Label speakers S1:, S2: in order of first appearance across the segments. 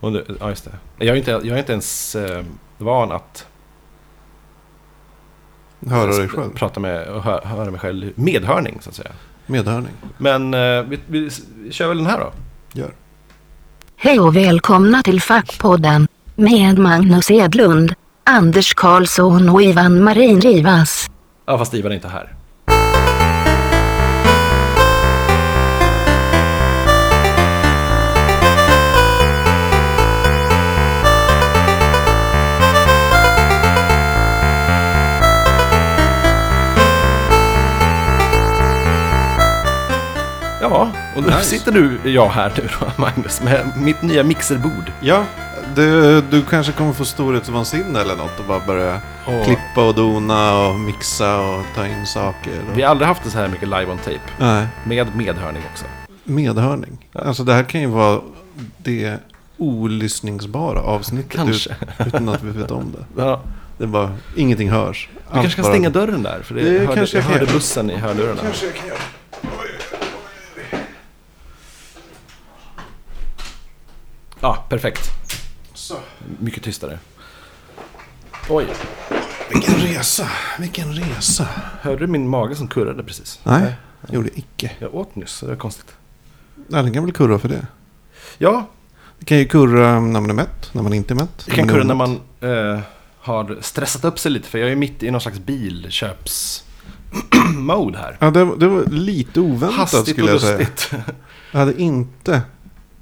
S1: Och nu, ja, just det. Jag är inte, jag är inte ens eh, van att
S2: Höra dig själv.
S1: prata med och hö, höra mig själv. Medhörning, så att säga.
S2: Medhörning.
S1: Men eh, vi, vi s- kör väl den här då.
S2: Gör.
S3: Hej och välkomna till Fackpodden med Magnus Edlund, Anders Karlsson och Ivan Marin Rivas.
S1: Ja, fast Ivan är inte här. Ja, och nu
S2: Nice.
S1: sitter du, jag här nu då, Magnus, med mitt nya mixerbord.
S2: Ja, du, du kanske kommer få storhetsvansinne eller något och bara börja
S1: Åh.
S2: klippa och dona och mixa och ta in saker. Och...
S1: Vi har aldrig haft det så här mycket live on tape,
S2: Nej,
S1: med medhörning också.
S2: medhörning. Alltså det här kan ju vara det olyssningsbara avsnittet.
S1: Kanske.
S2: ut- Utan att vi vet om det.
S1: Ja,
S2: Det är bara, ingenting hörs.
S1: du kanske kan stänga dörren där, för det,
S2: Det
S1: jag hörde,
S2: kanske
S1: jag
S2: jag kan
S1: hörde
S2: göra.
S1: bussen i hörlurarna.
S2: jag kan göra.
S1: Ja, perfekt.
S2: Så.
S1: Mycket tystare. Oj,
S2: Vilken resa, vilken resa.
S1: hörde du min mage som kurrade precis?
S2: Nej, det gjorde jag icke.
S1: Jag åt nyss, så det var konstigt.
S2: Nej, den kan väl kurra för det.
S1: Ja,
S2: Det kan ju kurra när man är mätt, när man inte är mätt.
S1: det kan
S2: är
S1: kurra när
S2: omätt.
S1: man eh, har stressat upp sig lite, för jag är mitt i någon slags bilköps-mode här.
S2: Ja, det, var- det var lite oväntat
S1: Hastigt och
S2: skulle jag säga.
S1: lustigt.
S2: Jag hade inte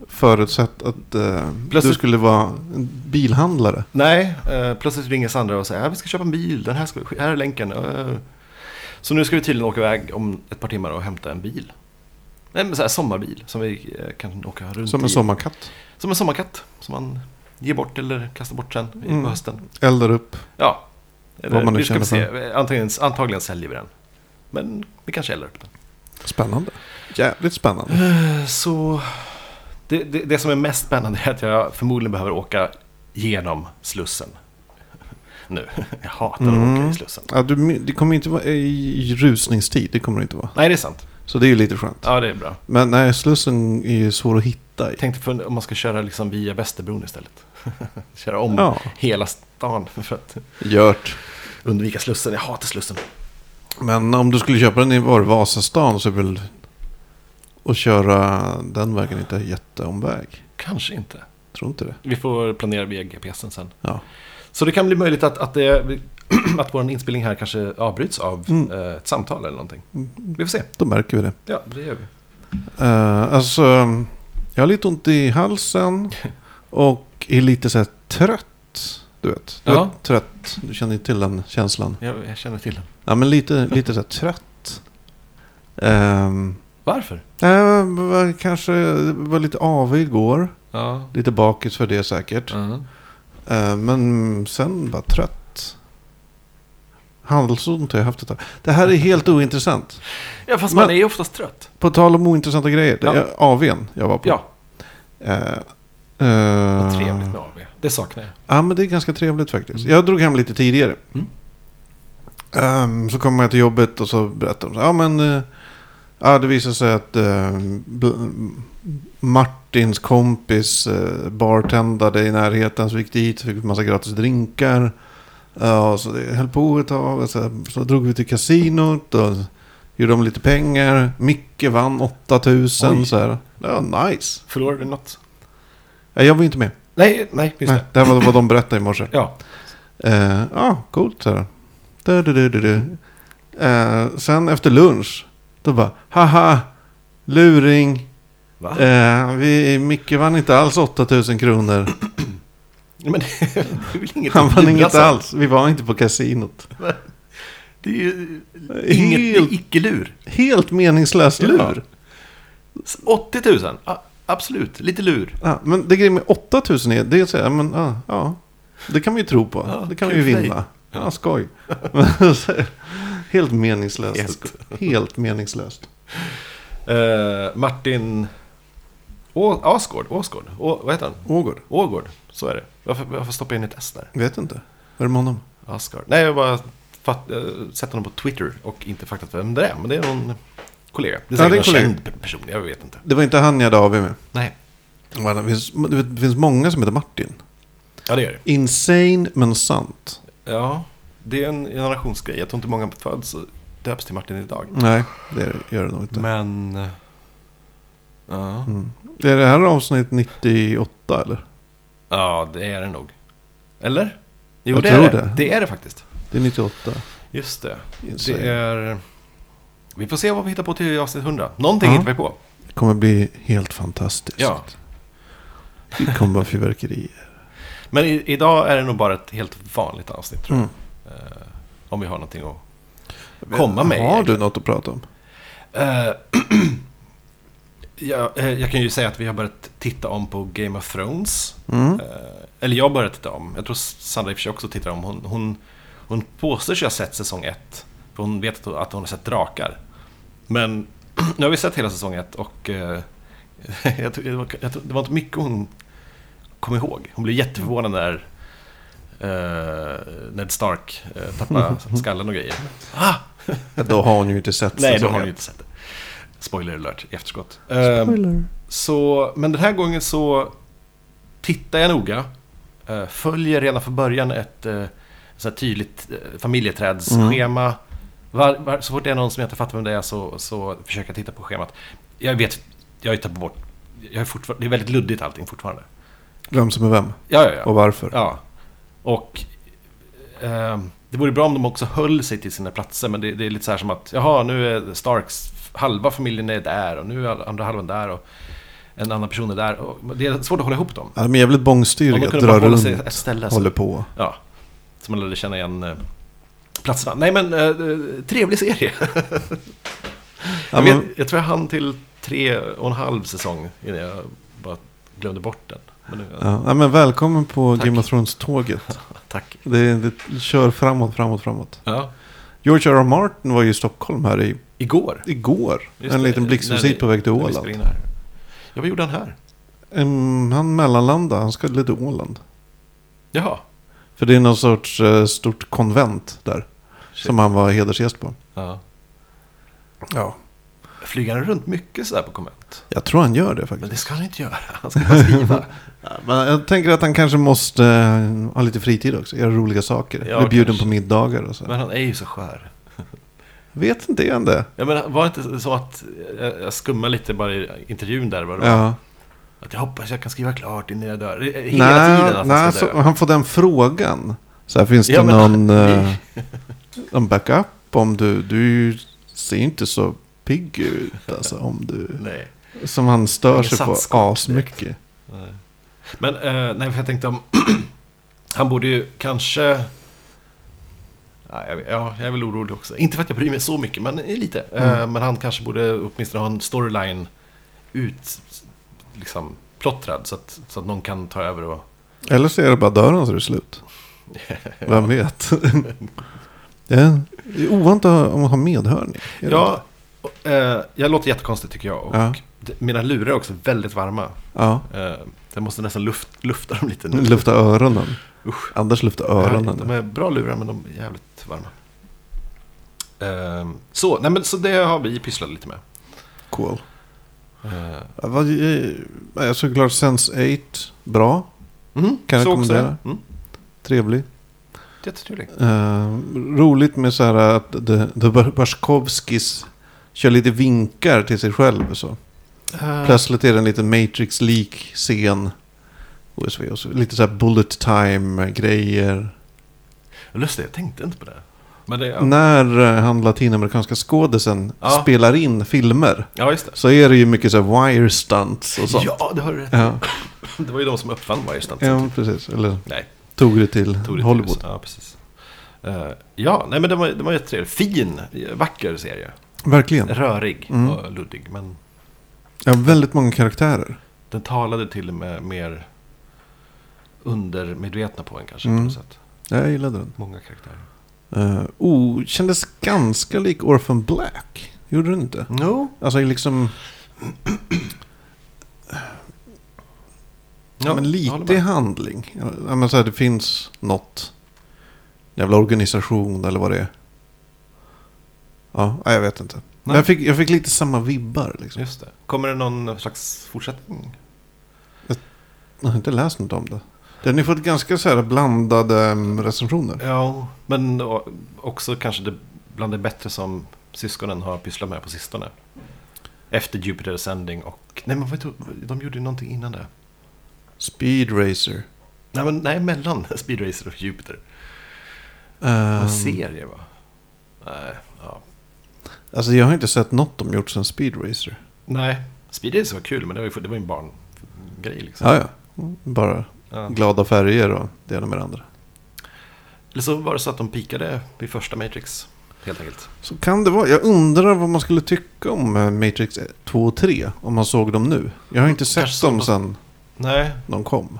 S2: förutsett att eh, du
S1: Plötsligt-
S2: skulle vara en bilhandlare.
S1: Nej, eh, plötsligt ringer Sandra och säger att vi ska köpa en bil, den här, ska, här är länken. eh." Så nu ska vi tydligen åka iväg om ett par timmar och hämta en bil. Nej, men så här sommarbil som vi eh, kan åka runt
S2: Som en
S1: i.
S2: sommarkatt.
S1: Som en sommarkatt som man ger bort eller kastar bort sen i-
S2: Mm.
S1: på hösten.
S2: Eldar upp.
S1: Ja, eller,
S2: Vad man nu
S1: vi ska väl
S2: känner
S1: se. Eh, Antagligen, antagligen säljer vi den. Men vi kanske eldar upp den.
S2: Spännande. Jävligt spännande.
S1: Eh, Så det, det, det som är mest spännande är att jag förmodligen behöver åka genom Slussen. Nu, jag hatar att åka i Slussen.
S2: Ja, du, my- det kommer inte vara i rusningstid. Det kommer det inte vara.
S1: Nej, det är sant.
S2: Så det är ju lite skönt.
S1: Ja, det är bra.
S2: Men nej, Slussen är ju svår att hitta i.
S1: Jag tänkte på om man ska köra liksom via Västerbron istället. köra om
S2: Ja.
S1: hela stan för att
S2: Gört.
S1: undvika Slussen. Jag hatar Slussen.
S2: Men om du skulle köpa den i var det, Vasastan så är väl... Och köra den vägen inte jätteomväg.
S1: Kanske inte.
S2: Tror inte det.
S1: Vi får planera via GPSen sen.
S2: Ja.
S1: Så det kan bli möjligt att, att, det, att vår inspelning här kanske avbryts av
S2: Mm.
S1: eh, ett samtal eller någonting. Vi får se.
S2: Då märker vi det.
S1: Ja, det gör vi.
S2: Eh, alltså, jag har lite ont i halsen och är lite så här trött. Du vet, du
S1: Ja.
S2: vet trött. Du känner ju till den känslan.
S1: Jag, jag känner till den.
S2: Ja, men lite, lite så här trött. Ehm,
S1: Varför?
S2: eh, var, kanske var lite avig igår.
S1: Ja.
S2: Lite bakis för det säkert.
S1: Mm.
S2: Eh, men sen bara trött. Handelsont har jag haft ett tag. Det här är helt ointressant.
S1: Ja, fast man
S2: Men-
S1: är ju oftast trött.
S2: På tal om ointressanta grejer. Det
S1: Ja.
S2: är AWn jag var på.
S1: Ja,
S2: Eh, eh,
S1: vad trevligt med AV. Det saknar jag.
S2: Ja, men det är ganska trevligt faktiskt. Jag drog hem lite tidigare.
S1: Mm.
S2: Ehm, så kommer jag till jobbet och så berättar de så här, ja men eh, ja, det visar sig att eh, B- Martins kompis eh, bartendade i närheten så vi gick dit och fick massa gratis drinkar. Ja, och så det höll på ett tag och så, här, så drog vi till kasinot och gjorde om lite pengar. Micke vann 8000
S1: Oj.
S2: så här. Ja, nice.
S1: Förlorar du något?
S2: Ja, jag var ju inte med.
S1: Nej, nej, just
S2: Nej,
S1: det.
S2: det här var vad de berättade i morse.
S1: Ja.
S2: Eh, ja, coolt så här. Du, du, du, du, du. Eh, sen efter lunch, då bara, haha, luring.
S1: Va?
S2: Eh, vi, Micke vann inte alls 8000 kronor.
S1: Men det är väl inget
S2: Han
S1: att
S2: vann
S1: jubla
S2: inget
S1: för?
S2: alls. Vi var inte på kasinot.
S1: Det är ju
S2: Helt-
S1: inget, det är icke-lur.
S2: Helt meningslös
S1: Ja.
S2: lur.
S1: 80 000, ja, absolut. Lite lur.
S2: Ja, men det grejen med 8000 är, det är så här, men ja, ja, det kan man ju tro på.
S1: Ja,
S2: det kan man
S1: kul
S2: ju
S1: för dig.
S2: vinna. Ja, skoj. Men så här, Helt meningslöst.
S1: Helt.
S2: Helt meningslöst.
S1: Eh, Martin Å- Asgård, Åsgård, Å- vad heter han?
S2: Ågård?
S1: Ågård, så är det. Varför, varför stoppar jag in ett S där?
S2: Vet inte. Vad är det med honom?
S1: Asgard. Nej, jag bara fatt, eh, sett honom på Twitter och inte fattat vem det är. Men det är någon kollega. Det är säkert
S2: Ja, det är
S1: någon
S2: kollega.
S1: känd pe- person, jag vet inte.
S2: Det var inte han jag hade AW med.
S1: Nej.
S2: Men Det finns, det finns många som heter Martin.
S1: Ja, det gör det.
S2: Insane men sant.
S1: Ja, det är en generationsgrej. Jag tror inte många föds och döps till Martin idag.
S2: Nej, det gör det nog inte.
S1: Men... Mm. eh, Ja.
S2: Det är det här avsnitt 98 eller?
S1: ja, det är det nog. Eller? Jo,
S2: Jag
S1: det
S2: tror
S1: är det.
S2: det.
S1: Det är det faktiskt.
S2: Det är 98.
S1: Just det.
S2: Insane.
S1: Det är... Vi får se vad vi hittar på till avsnitt 100. Någonting
S2: Ja.
S1: hittar vi på.
S2: Det kommer bli helt fantastiskt.
S1: Ja.
S2: Det kommer vara fyrverkerier.
S1: Men i, idag är det nog bara ett helt vanligt avsnitt. Tror
S2: Mm.
S1: jag. Eh, om vi har någonting att komma med.
S2: Har du något att prata om?
S1: Eh, ja, eh, jag kan ju säga att vi har börjat titta om på Game of Thrones.
S2: Mm.
S1: Eh, eller jag började titta om. Jag tror Sandra i och för sig också tittar om. Hon, hon, hon påstår sig ha sett säsong ett. För hon vet att hon- att hon har sett drakar. Men nu har vi sett hela säsong ett och eh, jag tror, det, var, jag tror, det var inte mycket hon kom ihåg. Hon blev jätteförvånad när eh, Ned Stark uh, tappade skallen och grejer. Ah!
S2: Då har hon ju inte sett
S1: Nej, då
S2: säsongen.
S1: har ni inte sett det. Spoiler alert i efterskott. Ehm, så, men den här gången så tittar jag noga. eh, Följer redan från början ett eh, så här tydligt eh, familjeträdsschema. Var, var, så fort det är någon som jag inte fattar vem det är så, så försöker jag titta på schemat. Jag vet, jag har ju tappat bort. Jag är fortfar- det är väldigt luddigt allting fortfarande.
S2: Vem som är vem
S1: Ja, ja, ja.
S2: och varför.
S1: Ja. Och ehm, det vore bra om de också höll sig till sina platser, men det, det är lite så här som att jaha, nu är Starks halva familjen är där och nu är andra halvan där och en annan person är där. Och det är svårt att hålla ihop dem.
S2: Ja, de är jävligt bångstyriga.
S1: Om de kunde bara
S2: Drar
S1: hålla sig ett
S2: runt.
S1: ställe så-
S2: Håller på.
S1: Ja, så man lärde känna igen eh, platserna. Nej, men eh, trevlig serie.
S2: Ja,
S1: jag,
S2: men,
S1: vet, jag tror jag hann till tre och en halv säsong innan jag bara glömde bort den. Men nu,
S2: ja, ja, men välkommen på
S1: Tack.
S2: Game of Thrones-tåget.
S1: Tack.
S2: Det, det kör framåt, framåt, framåt.
S1: Ja.
S2: George R. R. Martin var ju i Stockholm här i,
S1: Igår.
S2: igår.
S1: Just
S2: en
S1: det,
S2: liten
S1: när
S2: blixtvisit
S1: vi-
S2: på väg till
S1: när vi
S2: Åland.
S1: spelar in här. Ja, vad gjorde han här?
S2: Mm, han mellanlandade, han skulle till Åland.
S1: Jaha.
S2: För det är någon sorts eh, stort konvent där.
S1: Shit.
S2: Som han var hedersgäst på.
S1: Ja.
S2: Ja.
S1: Flyger han runt mycket sådär på konvent?
S2: Jag tror han gör det
S1: Men
S2: faktiskt.
S1: det ska han inte göra. Han ska bara skriva.
S2: Ja, Men jag tänker att han kanske måste eh, ha lite fritid också. Göra roliga saker.
S1: Ja,
S2: Bli bjuden
S1: kanske.
S2: på middagar och så.
S1: Men han är ju så skör.
S2: Vet inte, är han det?
S1: Jag menar, var det inte så att jag jag skummade lite bara i intervjun där? Bara,
S2: Ja.
S1: Att jag hoppas jag kan skriva klart innan jag dör. Det är Hela tiden
S2: Nej,
S1: att
S2: nej
S1: han
S2: så,
S1: ska dö.
S2: han får den frågan. Så här, finns
S1: Ja,
S2: det
S1: men-
S2: någon, eh, någon backup? Om du, du ser ju inte så pigg ut. Alltså, om du,
S1: Nej.
S2: som han stör
S1: Ingen typ.
S2: sig på
S1: sandskott
S2: asmycket.
S1: Men eh, nej, för jag tänkte om... han borde ju kanske... Ja, jag, vet- ja, jag är väl orolig också. Inte för att jag bryr mig så mycket, men lite. Eh, men han kanske borde åtminstone ha en storyline ut... Liksom plottrad, så att, så att någon kan ta över och...
S2: Eller så är det bara dörren så är det slut. Vem vet? det är det är ovant att ha- att ha medhörning. Är det
S1: Ja, och, eh, jag låter jättekonstig tycker jag. Och
S2: Ja.
S1: d- Mina lurar är också väldigt varma.
S2: inte? ja.
S1: Eh, jag måste nästan luft, lufta dem lite nu.
S2: Lufta öronen.
S1: Usch.
S2: Anders luftar
S1: De
S2: öronen.
S1: är bra lurar men de är jävligt varma. Ehm, så, nej, men, så det har vi pysslat lite med.
S2: Cool.
S1: Eh,
S2: Ja, vad- eh, Jag såg klart Sense 8. Bra.
S1: mm,
S2: Kan
S1: så också
S2: rekommendera.
S1: det. Mm,
S2: Trevlig.
S1: jättetrevlig.
S2: Eh, roligt med så här att The, the Barskovskis kör lite vinkar till sig själv. och Så.
S1: Eh,
S2: Plötsligt är det en liten Matrix-lik scen. OSV och så. Lite så här bullet time-grejer.
S1: Eh, Just det, jag tänkte inte på det. Men det ja.
S2: När eh, han latinamerikanska skådisen
S1: Ja.
S2: spelar in filmer
S1: ja, just det.
S2: så är det ju mycket så här wire stunts och sånt.
S1: Ja, det har du rätt i.
S2: Ja,
S1: Det var ju de som uppfann varje stunt.
S2: ja precis. Eller
S1: Nej,
S2: tog det till
S1: tog det till
S2: Hollywood.
S1: USA. Ja, precis. Eh, ja, nej men det var, det var jättetrevligt. Fin, vacker serie.
S2: Verkligen.
S1: Rörig
S2: Mm.
S1: och luddig. Men
S2: Ja, väldigt många karaktärer.
S1: den talade till och med mer undermedvetna på en kanske.
S2: Mm.
S1: På något sätt.
S2: Ja, Jag gillade den.
S1: Många karaktärer.
S2: Uh, oh, kändes ganska lik Orphan Black. Gjorde den inte?
S1: No.
S2: Alltså liksom...
S1: Ja,
S2: men
S1: jag
S2: lite
S1: håller
S2: i
S1: med.
S2: handling. Ja, men så här, det finns något. Jävla organisation eller vad det är. Ja, nej, jag vet inte. Men
S1: Nej.
S2: Jag fick, jag fick lite samma vibbar liksom.
S1: Just det. Kommer det någon slags fortsättning?
S2: Jag Jag har inte läst något om det. Den har fått ganska så här blandade mm, recensioner.
S1: Ja, men o- också kanske det bland det bättre som syskonen har pysslat med på sistone. Efter Jupiter Ascending och... Nej, men vad heter- de gjorde ju någonting innan det.
S2: Speed Racer.
S1: Nej, men nej, mellan Speed Racer och Jupiter. En
S2: Ehm,
S1: serie, va? Nej, ja.
S2: alltså jag har inte sett något de gjort sedan Speed Racer.
S1: nej, Speed Racer var kul, men det var ju, det var ju en barngrej liksom.
S2: Ja, ja. Mm, Bara
S1: Ja.
S2: glada färger och det ena med det andra.
S1: Eller så var det så att de pikade vid första Matrix, helt enkelt.
S2: Så kan det vara. Jag undrar vad man skulle tycka om eh, Matrix 2 och 3. Om man såg dem nu. Jag har inte sett
S1: Kanske
S2: dem
S1: så.
S2: sedan
S1: Nej,
S2: de kom.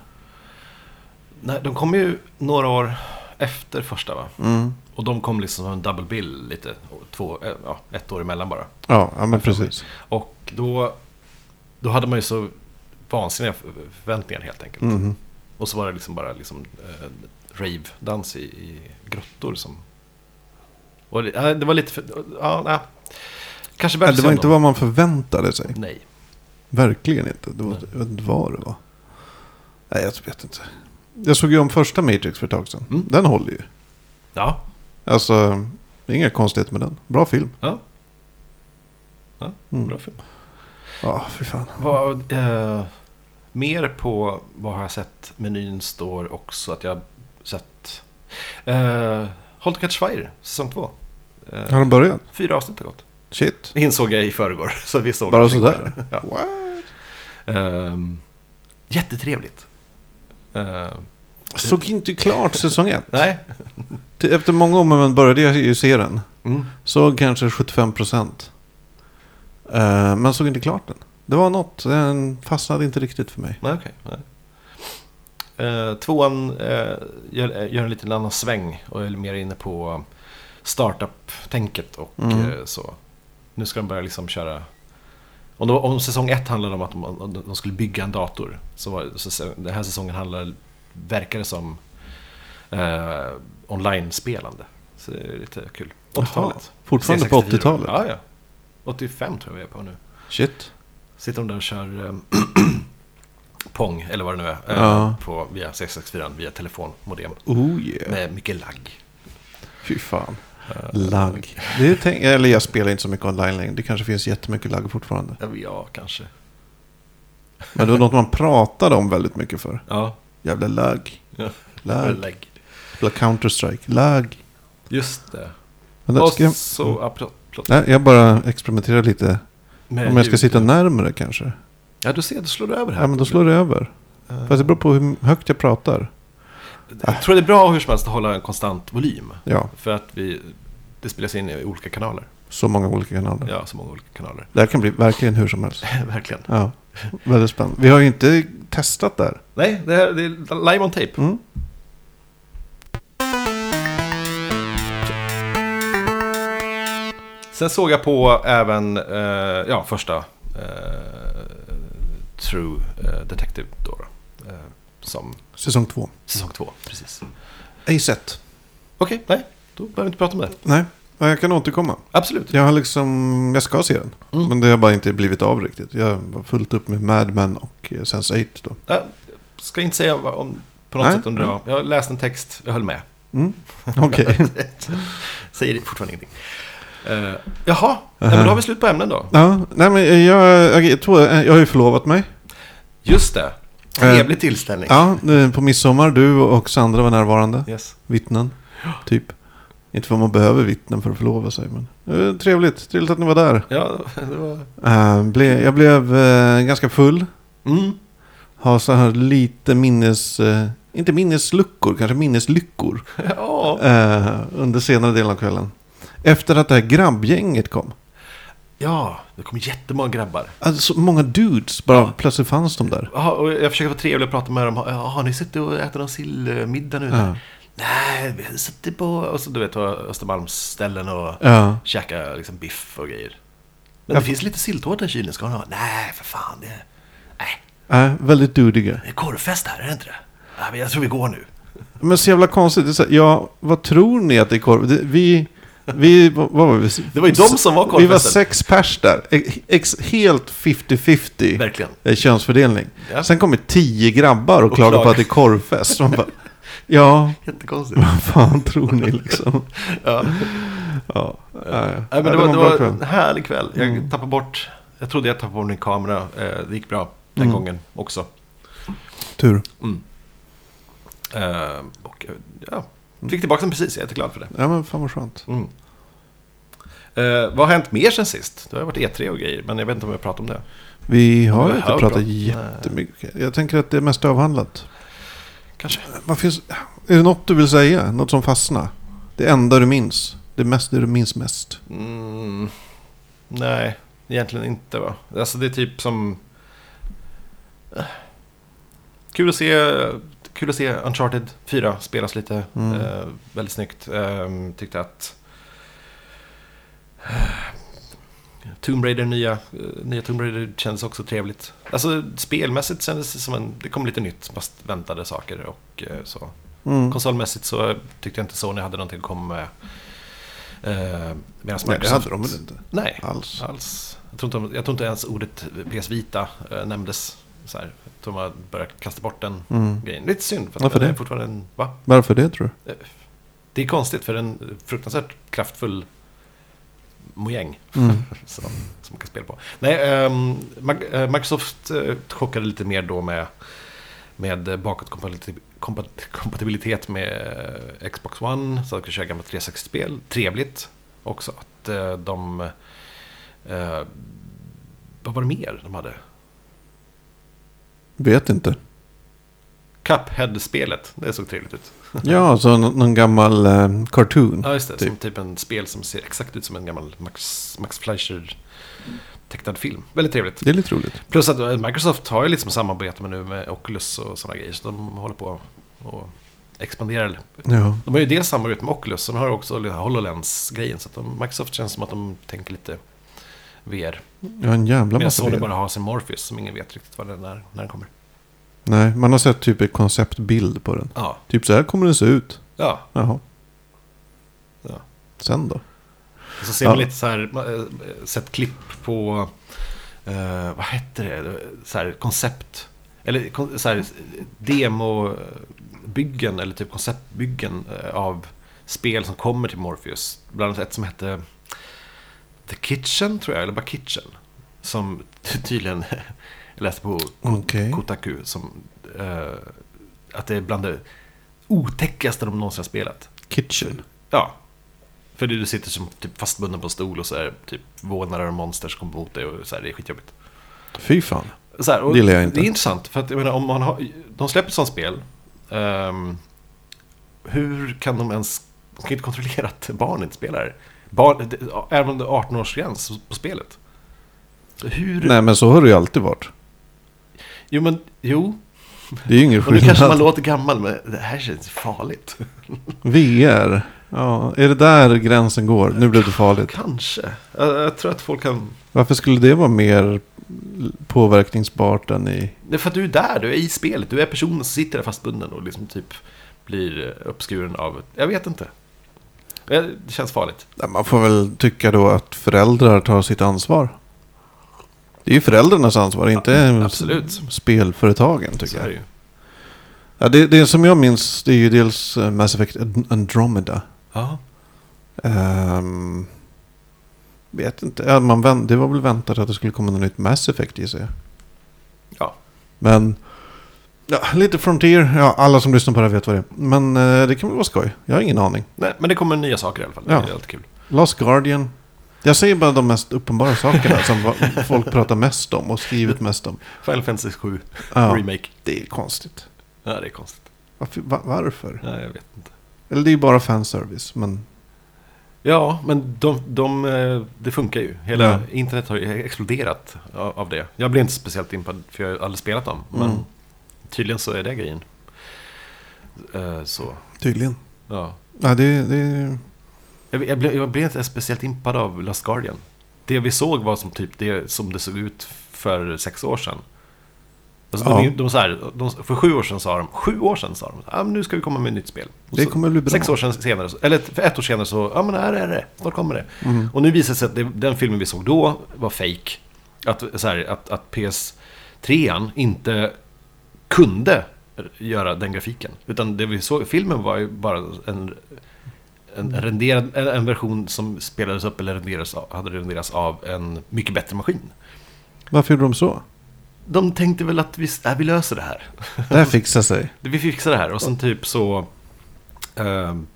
S1: nej de kom ju några år efter första, va?
S2: Mm.
S1: Och de kom liksom som en double bill lite, och två, eh, ja, ett år emellan bara.
S2: Ja, ja, men precis.
S1: Och då, då hade man ju så vansinniga f- förväntningar helt enkelt.
S2: Mhm.
S1: Och så var det liksom bara liksom, eh, rave-dans i, i grottor som... Och det, ja, det var lite för, ja, nej. Kanske
S2: Ja,
S1: bättre
S2: Det var inte vad man förväntade sig.
S1: Nej.
S2: Verkligen inte. Det var,
S1: Nej.
S2: jag vet inte vad det var. Nej, jag vet inte. Jag såg ju om första Matrix för ett tag sedan.
S1: Mm.
S2: Den håller ju.
S1: Ja,
S2: Alltså, det är inga konstigheter med den. Bra film.
S1: ja. Ja,
S2: Mm.
S1: bra film.
S2: Ja, för fan.
S1: Vad, eh, mer på vad har jag sett menyn står också att jag sett... Eh, Halt Catch Fire, säsong två. Eh,
S2: Har den börjat?
S1: fyra avsnitt har gått.
S2: Shit.
S1: Det insåg jag i förrgår. Så vi såg
S2: Bara
S1: det.
S2: sådär?
S1: Ja.
S2: What?
S1: Ehm, jättetrevligt. Ehm,
S2: Jag såg inte klart säsong ett.
S1: nej.
S2: Till- Efter många om och men började jag ju se den.
S1: Mm.
S2: Såg kanske 75 procent. Eh, men såg inte klart den. Det var något. Den fastnade inte riktigt för mig.
S1: Nej, okej. nej. Eh, tvåan eh, gör, gör en liten annan sväng och är mer inne på startup-tänket och
S2: Mm.
S1: eh, så. Nu ska de börja liksom köra... Om, det var, om säsong ett handlade om att de, om de skulle bygga en dator så, var, så- så den här säsongen handlar, verkar det som eh, online-spelande. Så det är lite kul. 80-talet.
S2: Fortfarande på
S1: C64.
S2: 80-talet?
S1: Ja, ja. 85 tror jag vi är på nu.
S2: Shit.
S1: Sitter de där och kör eh, Pong, eller vad det nu är, eh,
S2: Ja.
S1: på, via 664 via telefonmodem.
S2: Oh yeah.
S1: Med mycket lagg.
S2: Fy fan.
S1: Eh,
S2: Lagg. Det är tänk- eller jag spelar inte så mycket online längre. Det kanske finns jättemycket lagg fortfarande.
S1: Ja, Ja, kanske.
S2: Men det var något man pratade om väldigt mycket för.
S1: Ja,
S2: Jävla lagg.
S1: Ja.
S2: Lagg.
S1: lagg.
S2: Jävla Counter-Strike. Lagg.
S1: Just det.
S2: Men där
S1: Och
S2: ska jag,
S1: så, ja, plott, plott,
S2: nej, jag bara experimenterar lite.
S1: med
S2: Om jag ska
S1: ljud.
S2: sitta närmre kanske.
S1: Ja, du ser, då slår du över här.
S2: Ja, men då slår det över.
S1: Eh,
S2: Fast det beror på hur högt jag pratar. Mm.
S1: Jag tror det är bra hur som helst att hålla en konstant volym.
S2: Ja,
S1: För att vi, det spelas in i olika kanaler.
S2: så många olika kanaler.
S1: Ja, så många olika kanaler.
S2: Det här kan bli verkligen hur som helst.
S1: Verkligen.
S2: Ja, väldigt spännande. Vi har ju inte testat där.
S1: Nej, det, här, det är live on tape.
S2: Mm.
S1: Sen såg jag på även eh, ja, första eh, True eh, Detective då. då eh, som
S2: Säsong två.
S1: säsong två, precis.
S2: Ej sett.
S1: Okej, nej, då behöver vi inte prata om det.
S2: Nej, ja, jag kan återkomma.
S1: Absolut.
S2: Jag har liksom, jag ska se den.
S1: Mm.
S2: Men det har bara inte blivit av riktigt. Jag var fullt upp med Mad Men och eh, Sense8 då.
S1: Jag ska inte säga vad- om, på något
S2: Nej,
S1: sätt om det var. Jag läste en text, jag höll med.
S2: Mm. Okej.
S1: Säger fortfarande ingenting. Eh, jaha, nej, men då har vi slut på ämnen då.
S2: Ja, nej men jag, jag, jag, tror, jag har ju förlovat mig.
S1: Just det, trevlig tillställning.
S2: Eh, Ja, eh, på midsommar, du och Sandra var närvarande.
S1: Yes.
S2: Vittnen, typ. Inte för att man behöver vittnen för att förlova sig, men eh, trevligt. Trevligt att ni var där.
S1: Ja, det var...
S2: Eh, ble, jag blev eh, ganska full.
S1: Mm.
S2: Har så här lite minnes... Eh, inte minnesluckor, kanske minneslyckor.
S1: Ja.
S2: Eh, under senare delen av kvällen. Efter att det här grabbgänget kom.
S1: ja, det kom jättemånga grabbar.
S2: Alltså, så många dudes, bara plötsligt fanns de där.
S1: Jaha, och jag försöker vara trevlig och prata med dem. Ja, Har ni suttit och ätit någon sillmiddag nu?
S2: Ja.
S1: Nej, vi har suttit på och så, du vet, på Östermalmsställen och
S2: Ja.
S1: käkat liksom, biff och grejer. Men
S2: Ja.
S1: det finns lite silltårta i kylen, ska ni ha? Nej, för fan. Det är, nej,
S2: Eh, väldigt dudiga.
S1: det är korvfest här, är det inte det? Ja, men jag tror vi går nu.
S2: Men så jävla konstigt. Det är så här, ja, vad tror ni att det är korv? Det, vi, Vi, vad var vi?
S1: Det var ju de som var
S2: Vi var
S1: korvfesten.
S2: sex pers där. Ex, helt 50-50
S1: Verkligen.
S2: eh, könsfördelning.
S1: Ja.
S2: Sen kommer tio grabbar och,
S1: Och
S2: klagar på
S1: klagar.
S2: att det är korvfest. Man bara, ja,
S1: Jättekonstigt.
S2: vad fan tror ni liksom?
S1: Ja.
S2: Ja, nej.
S1: Nej, men
S2: Ja,
S1: det, var,
S2: en
S1: det
S2: bra
S1: var
S2: kväll.
S1: en härlig kväll. Jag
S2: Mm.
S1: tappade bort... Jag trodde jag tappade bort min kamera. Eh, Det gick bra den
S2: Mm.
S1: gången också. Mm.
S2: Tur.
S1: Eh, Och eh, ja, fick tillbaka den precis. Jag är jätteglad för det.
S2: Ja, men fan vad skönt.
S1: Mm. Eh, vad har hänt mer sen sist? Det har varit E3 och grejer, men jag vet inte om jag pratar om det.
S2: Vi har
S1: Det
S2: ju
S1: här
S2: inte
S1: var
S2: pratat
S1: bra.
S2: jättemycket. Jag tänker att det är mest avhandlat.
S1: Kanske.
S2: Vad finns, är det något du vill säga? Något som fastnar? Det enda du minns? Det mest det du minns mest?
S1: Mm, nej, egentligen inte va. Alltså det är typ som... Eh, Kul att se, kul att se Uncharted 4 spelas lite.
S2: Mm.
S1: Eh, väldigt snyggt. Eh, tyckte att... Eh, Tomb Raider, nya, eh, nya Tomb Raider kändes också trevligt. Alltså spelmässigt kändes det som en... Det kom lite nytt, fast väntade saker och eh, så.
S2: Mm.
S1: Konsolmässigt så tyckte jag inte Sony hade någonting att komma med. Eh, Medan
S2: Nej, det hade de väl inte
S1: Nej,
S2: alls.
S1: alls. Jag tror, inte, de- jag tror inte ens ordet PS Vita eh, nämndes. Så här. Jag tror man började kasta bort den
S2: Mm.
S1: grejen. Lite synd, för att
S2: Varför
S1: den är
S2: det?
S1: fortfarande en... Va?
S2: Varför det tror du?
S1: Eh, Det är konstigt, för en fruktansvärt kraftfull mojäng
S2: Mm.
S1: så, som man kan spela på. Nej, ehm, Mag- eh, Microsoft eh, chockade lite mer då med, med eh, bakåtkompatib- kompat- kompatibilitet med eh, Xbox One, så att man kan köra gamla 360-spel. Trevligt också att eh, de... Eh, vad var det mer de hade?
S2: Vet inte.
S1: Cuphead-spelet, det såg trevligt ut.
S2: Ja, så någon, någon gammal eh, cartoon.
S1: Ja, just det.
S2: Typ.
S1: Som typ en spel som ser exakt ut som en gammal Max, Max Fleischer-tecknad film. Väldigt trevligt.
S2: Det är lite roligt.
S1: Plus att eh, Microsoft har ju liksom samarbete med nu med Oculus och sådana grejer. Så de håller på och expanderar.
S2: Ja.
S1: De har ju dels samarbete med Oculus, sen har de också den här HoloLens-grejen. Så att de, Microsoft känns som att de tänker lite VR.
S2: Jag har en jävla
S1: Medan
S2: massa
S1: Sony
S2: grejer.
S1: bara har sin Morpheus som ingen vet riktigt vad den är när, när den kommer.
S2: Nej, man har sett typ en konceptbild på den.
S1: Ja,
S2: Typ så här kommer den se ut.
S1: ja.
S2: Jaha.
S1: Ja.
S2: Sen då?
S1: Och så ser
S2: Ja.
S1: man lite så här, eh, sett klipp på, eh, vad hette det, så här koncept, eller kon- så här demobyggen, eller typ konceptbyggen eh, av spel som kommer till Morpheus. Bland annat ett som hette The Kitchen, tror jag, eller bara Kitchen. Som ty- tydligen, jag läste på
S2: Okej.
S1: Kotaku, som, eh, att det är bland det otäckaste de någonsin har spelat.
S2: Kitchen.
S1: Ja. För du sitter som typ fastbunden på en stol och så är det typ vålnader och monster som kommer mot dig och så här, det är skitjobbigt.
S2: Fy fan.
S1: Så här, och
S2: Det gillar jag inte.
S1: Det är intressant, för att jag menar, om man har, de släpper ett sånt spel, ehm, hur kan de ens, de kan ju inte kontrollera att barn inte spelar. Barn, det- även om det är 18-årsgräns på spelet. Så hur?
S2: Nej, men så har det ju alltid varit.
S1: Jo, men jo.
S2: Det är ju ingen
S1: Och nu kanske
S2: skillnad.
S1: man låter gammal, men det här känns farligt.
S2: VR. Ja, är det där gränsen går? Nu blev det farligt.
S1: Kanske. Jag, jag tror att folk kan
S2: Varför skulle det vara mer påverkningsbart än i...
S1: Det är för att du är där, du är i spelet, du är personen som sitter där fastbunden och liksom typ blir uppskuren av... Jag vet inte. Eh, Det känns farligt.
S2: Nej, Man får väl tycka då att föräldrar tar sitt ansvar. Det är ju föräldrarnas ansvar, inte
S1: absolut.
S2: s- spelföretagen
S1: Så
S2: tycker
S1: är
S2: jag.
S1: det ju.
S2: Ja, det, det som jag minns det är ju dels eh, Mass Effect And- Andromeda.
S1: Ja.
S2: Ehm, vet inte, ja, man vänt, det var väl väntat att det skulle komma något nytt Mass Effect gissar jag.
S1: Ja.
S2: Men ja, lite Frontier, ja, alla som lyssnar på det här vet vad det är. Men eh, det kan väl vara skoj, jag har ingen aning.
S1: Nej, men det kommer nya saker i alla fall.
S2: Ja.
S1: Det är alltid kul.
S2: Lost Guardian. Jag säger bara de mest uppenbara sakerna som va- folk pratar mest om och skrivit mest om.
S1: Final Fantasy 7
S2: Ja,
S1: Remake.
S2: det är konstigt.
S1: Ja, det är konstigt.
S2: Varför? va- varför?
S1: Ja, jag vet inte.
S2: Eller det är ju bara fanservice, men
S1: Ja, men de, de, eh, det funkar ju. Hela
S2: Ja.
S1: internet har ju exploderat av av det. Jag blev inte speciellt impad, för jag har aldrig spelat dem. Men
S2: Mm.
S1: tydligen så är det grejen. Eh, Så,
S2: tydligen.
S1: ja.
S2: Ja, det, det,
S1: Jag, jag, blev, jag blev inte speciellt impad av Last Guardian. Det vi såg var som typ det som det såg ut för sex år sedan. Alltså,
S2: Ja.
S1: de, är ju- de, är så här, de, för sju år sedan sa de, sju år sedan sa de, ja, men nu ska vi komma med ett nytt spel. Och
S2: Det
S1: så
S2: kommer bli bra.
S1: Sex år sedan senare, så- eller för ett år senare så, ja men här är det, snart kommer det.
S2: Mm.
S1: Och nu visar det sig att det, den filmen vi såg då var fake. Att, så här, att, att PS3 inte kunde göra den grafiken. Utan det vi såg, filmen var ju bara en,
S2: Mm.
S1: en, renderad, en, en version som spelades upp eller renderades av, hade renderats av en mycket bättre maskin.
S2: Varför gjorde de så?
S1: De tänkte väl att vi, äh, vi löser det här.
S2: Det här fixar sig.
S1: Vi fixar det här. Och sen typ så ehm,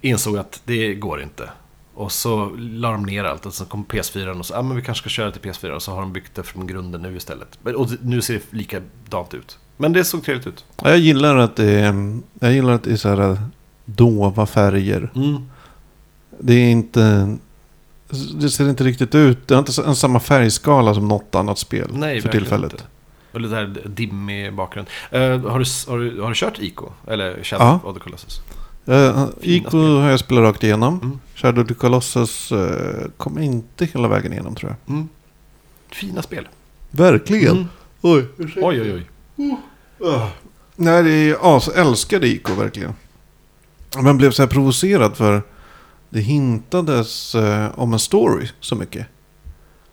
S1: insåg att det går inte. Och så la de ner allt och sen kom PS4 och så, ah, men vi kanske ska köra till PS4 och så har de byggt det från grunden nu istället. Men- Och nu ser det likadant ut. Men det såg trevligt ut.
S2: Ja, Jag gillar att det är, jag gillar att det är så här äh, dova färger.
S1: Mm.
S2: Det är inte... Det ser inte riktigt ut. Det har inte en samma färgskala som något annat spel
S1: Nej,
S2: för
S1: verkligen
S2: tillfället.
S1: Inte. Och lite här dimmig bakgrund. Eh, har, du, s- har, du, har du kört Ico? Eller Shadow
S2: Ja.
S1: of the Colossus?
S2: Eh,
S1: Fina
S2: Ico
S1: spel.
S2: har jag spelat rakt igenom.
S1: Mm.
S2: Shadow of the Colossus eh, kom inte hela vägen igenom tror jag.
S1: Mm. Fina spel.
S2: Verkligen.
S1: Mm.
S2: Oj.
S1: Oj, oj, oj.
S2: Nej, det är as. älskade Ico verkligen. Men blev så här provocerad för det hintades eh, om en story så mycket.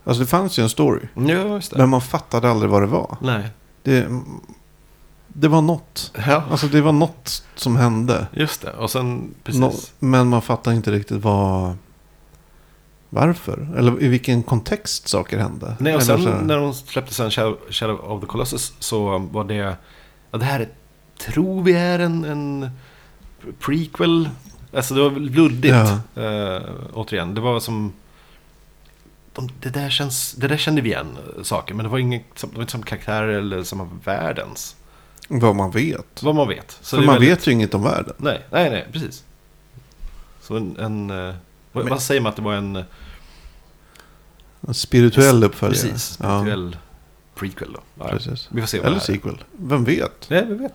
S2: Alltså det fanns ju en story.
S1: Ja, just det.
S2: Men man fattade aldrig vad det var.
S1: Nej.
S2: Det, det var något.
S1: Ja.
S2: Alltså det var något som hände.
S1: Just det, och sen precis.
S2: Nå- men man fattar inte riktigt vad... Varför? Eller i vilken kontext saker hände.
S1: Nej, och
S2: Eller så här-
S1: sen när de släppte sen Shadow, Shadow of the Colossus så var det... Ja, det här är, tror vi är en, en prequel. Alltså det var väl luddigt. Eh, återigen, det var som... De, det, där känns, det där kände vi igen, eh, saker. Men det var, inget, som- det var inte samma karaktärer eller samma världens.
S2: Vad man vet.
S1: Vad man vet. Så
S2: För
S1: det är
S2: man
S1: väldigt-
S2: vet ju inget om världen.
S1: Nej, nej, nej, precis. Så en... en eh, vad,
S2: Men-
S1: vad säger man att det var en... eh,
S2: En spirituell uppföljare.
S1: Precis, spirituell prequel då. Ja,
S2: Ja, precis.
S1: Vi får se vad
S2: Eller
S1: det här är.
S2: sequel. Vem vet?
S1: Nej, vi vet.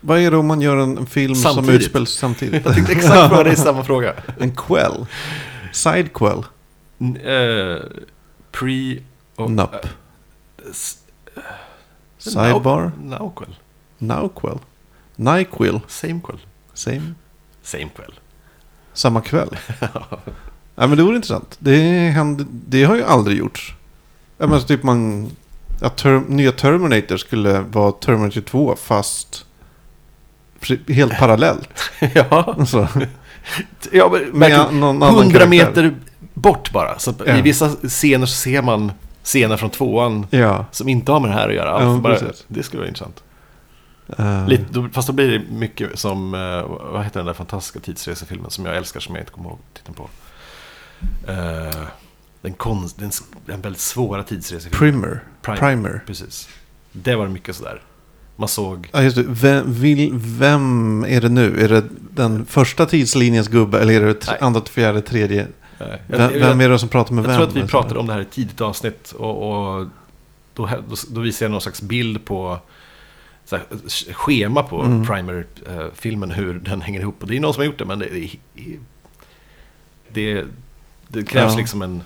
S2: Vad är det om man gör en en film som
S1: Samtidigt.
S2: utspelas samtidigt?
S1: Jag tänkte exakt på det i samma fråga.
S2: en quell. Side quell.
S1: N- eh, pre... och-
S2: Nup.
S1: eh, s-
S2: Sidebar.
S1: Now- Nowquel.
S2: Now quell. Nyquil.
S1: Samequel.
S2: Same.
S1: Samequel.
S2: Samma kväll. Nej men det vore intressant. Det, hände, det har ju aldrig gjorts. Jag menar, så typ man... Att ter, nya Terminator skulle vara Terminator 2 fast pre- helt parallellt.
S1: ja,
S2: Alltså,
S1: ja, men
S2: med
S1: verkligen.
S2: någon annan
S1: 100
S2: karaktär.
S1: meter bort bara. Så att
S2: Ja.
S1: I vissa scener så ser man scener från tvåan
S2: Ja.
S1: som inte har med det här att göra.
S2: Ja,
S1: alls. bara,
S2: precis.
S1: det skulle vara intressant.
S2: eh,
S1: Lite, då, fast då blir det mycket som, eh, vad heter den där fantastiska tidsresefilmen som jag älskar som jag inte kommer ihåg titeln på. Eh, den, konst, den, s- den väldigt svåra tidsresefilmen.
S2: Primer.
S1: Primer.
S2: Primer.
S1: Precis. Det var mycket sådär. Man såg...
S2: Ja, just det. Vem, vill, vem är det nu? Är det den första tidslinjens gubbe eller är det t-
S1: Nej.
S2: andra, fjärde, tredje?
S1: eh, jag-
S2: Vem,
S1: jag-
S2: vem är det som pratar med
S1: Jag
S2: vem?
S1: tror att vi pratade om det här i ett tidigt avsnitt och, och då, då, då visade jag någon slags bild på så här, eh, sch- schema på
S2: Mm.
S1: Primer-filmen, hur den hänger ihop. Och det är någon som har gjort det, men det, det, det, det krävs
S2: Ja.
S1: liksom en...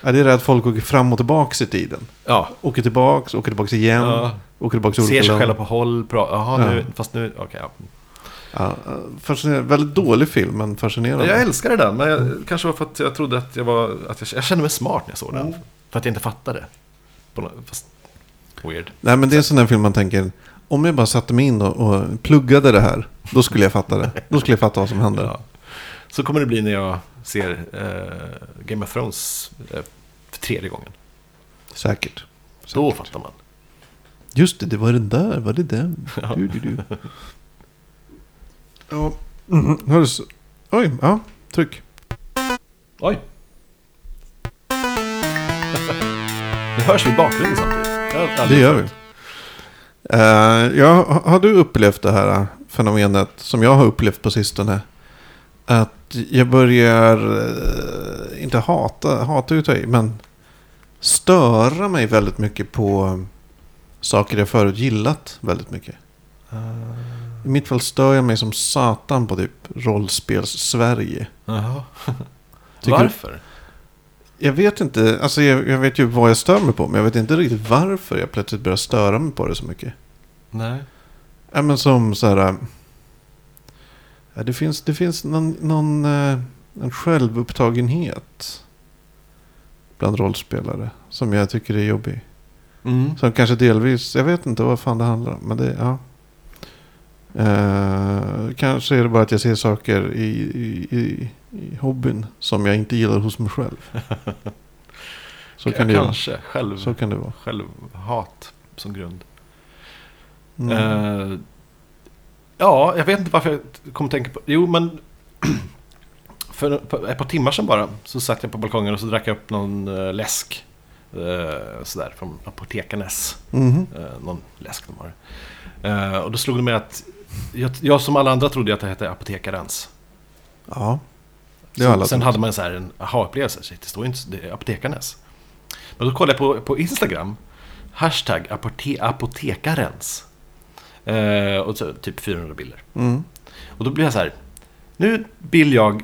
S2: Ja, det är det att folk åker fram och tillbaka i tiden.
S1: Ja,
S2: Åker tillbaks, åker tillbaks igen.
S1: Ja.
S2: Åker tillbaks till
S1: ser
S2: olika
S1: sig
S2: länder.
S1: själva på håll, bra. Jaha,
S2: Ja.
S1: nu, fast nu, okej. ja.
S2: Ja, fascinerande. Väldigt dålig film, men fascinerande.
S1: Jag älskade den, men jag, kanske var för att jag trodde att jag var, att jag, jag kände mig smart när jag såg den. För att jag inte fattade. På nå- fast, weird.
S2: Nej, men det är en sån där film man tänker, om jag bara satte mig in och, och pluggade det här, då skulle jag fatta det. Då skulle jag fatta vad som händer.
S1: Ja. Så kommer det bli när jag ser eh, Game of Thrones eh, för tredje gången.
S2: Säkert.
S1: Då
S2: Säkert.
S1: fattar man.
S2: Just det, det var den där, var det den?
S1: Ja.
S2: Du, du, du. Ja, mm, hördes. Oj, ja, tryck.
S1: Oj! Nu hörs vi i bakgrunden samtidigt. Jag har aldrig
S2: Det gör vi.
S1: hört.
S2: Eh, ja, ha- har du upplevt det här eh, fenomenet som jag har upplevt på sistone? Att jag börjar, eh, inte hata, hata utav i, men störa mig väldigt mycket på eh, saker jag förut gillat väldigt mycket.
S1: Eh,
S2: I mitt fall stör jag mig som satan på typ rollspels-Sverige.
S1: Jaha.
S2: Tycker-
S1: Varför?
S2: Jag vet inte, alltså jag, jag vet ju vad jag stör mig på, men jag vet inte riktigt varför jag plötsligt börjar störa mig på det så mycket.
S1: Nej.
S2: Ja, men som så här... äh, Ja, det finns, det finns någon, någon eh, en självupptagenhet bland rollspelare som jag tycker är jobbig.
S1: Mm.
S2: Som kanske delvis, jag vet inte vad fan det handlar om, men det, ja. Eh, kanske är det bara att jag ser saker i, i, i, i hobbyn som jag inte gillar hos mig själv. Så kan det ju vara.
S1: Kanske. Själv,
S2: Så kan det vara.
S1: Självhat som grund.
S2: Mm.
S1: Eh, ja, jag vet inte varför jag kom att tänka på... Jo, men... För ett par timmar sedan bara så satt jag på balkongen och så drack jag upp någon eh, läsk. eh, sådär, från Apotekarnes.
S2: Mhm.
S1: Eh, någon läsk de har. Eh, och då slog det mig att jag, jag som alla andra trodde att det hette apotekarens.
S2: Ja. Det har
S1: Sen,
S2: alla
S1: sen
S2: trott.
S1: hade man så här en aha-upplevelse. Shit, Det står ju inte det är apotekarnes. Men då kollade jag på, på Instagram. Hashtag apote, apotekarens. Eh, och så, typ 400 bilder.
S2: Mm.
S1: Och då blir jag så här. Nu vill jag